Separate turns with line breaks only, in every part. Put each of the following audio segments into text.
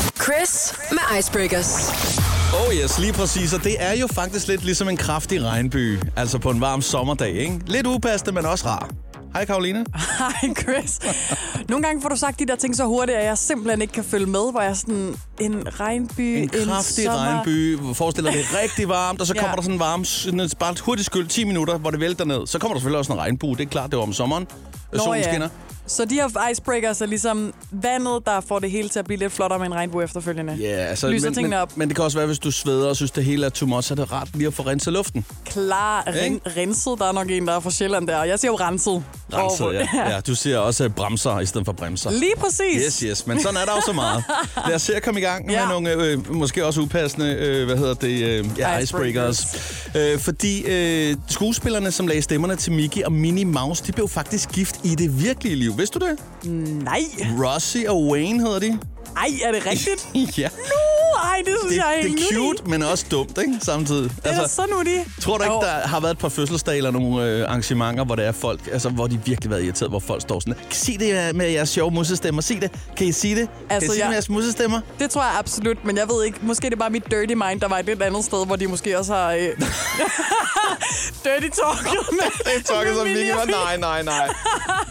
Chris med Icebreakers.
Oh yes, lige præcis. Og det er jo faktisk lidt ligesom en kraftig regnby. Altså på en varm sommerdag, ikke? Lidt upassende, men også rar. Hej Karoline.
Hej Chris. Nogle gange får du sagt de der ting så hurtigt, at jeg simpelthen ikke kan følge med, hvor jeg er sådan en regnby,
En kraftig
sommer-
regnby. Forestiller det rigtig varmt, og så
Ja.
kommer der sådan en varm, sådan en bare et hurtigt skyld, 10 minutter, hvor det vælter ned. Så kommer der selvfølgelig også en regnbue. Det er klart, det var om sommeren. Nå,
Nå
Solen
ja.
skinner.
Så de her icebreakers er ligesom vandet, der får det hele til at blive lidt flottere med en regnbue efterfølgende.
Ja, altså,
Lyser
men, men,
tingene op.
men det kan også være, hvis du sveder og synes, det hele er too much, så er det rart lige at få renset luften.
Klar, ren,
Ikke?
renset. Der er nok en, der er fra Sjælland der. og Jeg siger jo renset.
Renset,
Og-
ja. ja. Du siger også øh, bremser i stedet for bremser.
Lige præcis.
Yes, yes. Men sådan er der jo så meget. Lad os se at komme i gang ja.
Ja.
med nogle, øh, måske også upassende, øh, hvad hedder det, øh, ja, icebreakers.
Icebreakers.
Øh, fordi øh, skuespillerne, som lagde stemmerne til Mickey og Minnie Mouse, de blev faktisk gift i det virkelige liv. Vidste du det?
Nej.
Rossi og Wayne hedder de.
Ej, er det rigtigt?
ja.
Uh, ej, det synes
Det,
jeg er
det
helt
er
nuttigt.
cute, men også dumt, ikke? Samtidig. Altså,
Det er da så nuttigt.
Tror du ikke,
Jo.
der har været et par fødselsdage eller nogle øh, arrangementer, hvor der er folk, altså hvor de virkelig har været irriteret, hvor folk står sådan, sig det øh, med jeres sjove musestemmer, sig det, kan I sige det? kan I
Altså,
sige det med
jeg-
jeres musestemmer?
Det tror jeg absolut, men jeg ved ikke. Måske er det bare mit dirty mind, der var et lidt andet sted, hvor de måske også har... Øh... dirty talk med...
Det
med
som
Minnie
Mickey var,
og
nej, nej, nej.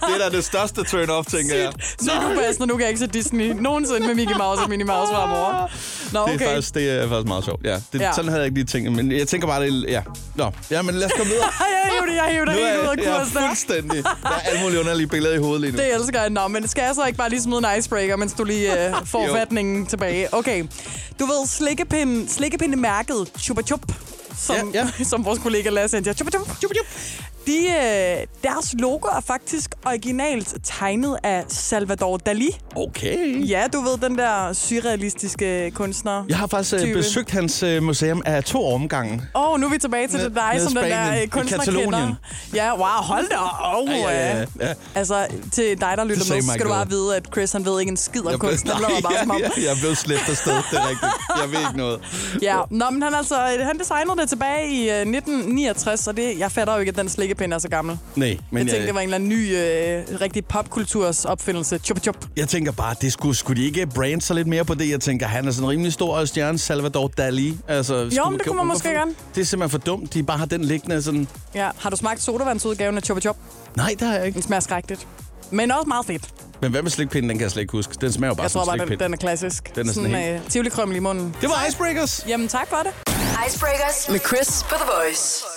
Det er da det største turn-off, tænker jeg.
Sygt. Så nu passer, nu kan jeg ikke se Disney nogensinde med Mickey Mouse og Minnie Mouse fremover. Nå, okay.
Ah. Det er, faktisk, det er faktisk meget sjovt. Ja, det, ja.
Ja.
Sådan havde jeg ikke lige tænkt, men jeg tænker bare, det er- ja. Nå, ja, men lad os komme videre.
Ej, jeg hiver det, jeg hiver det
Nu er
helt ud af
jeg, jeg
kurs
er
der.
fuldstændig. Der er alle mulige underlige billeder i hovedet lige nu.
Det elsker jeg. Nå, men skal jeg så ikke bare lige smide en icebreaker, mens du lige øh, får
Jo.
fatningen tilbage? Okay. Du ved, slikkepinden, slikkepindemærket Chupa Chup, som,
Ja,
ja,
ja.
ja. som vores kollega Lasse endte. Chupa Chup, Chupa Chup. De, øh, deres logo er faktisk originalt tegnet af Salvador Dali.
Okay.
Ja, du ved, den der surrealistiske kunstner.
Jeg har faktisk øh,
Type.
besøgt hans øh, museum af to omgange.
Åh, oh, nu er vi tilbage til
Ned-
det dig,
ned i
som den
Spanien,
der
i
øh, kunstner
Catalonien.
kender. Ja, wow, hold da op. Oh,
Ja, ja, ja, ja.
Altså, til dig, der lytter
sagde
med, så
mig
skal du
ikke
bare
noget.
vide, at Chris han ved ikke en skid om kunst. Han lader bare
ja,
som om.
ja, jeg blev slæbt afsted, det er rigtigt. Jeg ved ikke noget.
Ja, Nå, men han, altså, han designede det tilbage i øh, 1969, og det, jeg fatter jo ikke, at den slikkepind er så gammel.
Nej, men
jeg tænkte,
jeg,
det var en eller anden ny, øh, rigtig popkulturs opfindelse. Chup, chup.
jeg tænker bare, det skulle, skulle de ikke brande sig lidt mere på det? Jeg tænker, han er sådan en rimelig stor stjerne, Salvador Dali. Altså, jo,
men det kunne man måske gerne.
Det er simpelthen for dumt, de bare har den liggende sådan...
Ja. Har du smagt sodavandsudgaven af Chupa Chup?
Nej, det har jeg ikke.
Den smager skrækkeligt. Men også meget fedt.
Men hvad med slikpinden, den kan jeg slet ikke huske. Den smager jo bare
Jeg
som
tror bare, den,
slikpind.
den er klassisk.
Den er sådan
øh, tivoli krømmel i munden.
Det var Icebreakers.
Jamen tak for det.
Icebreakers med Chris på The Voice.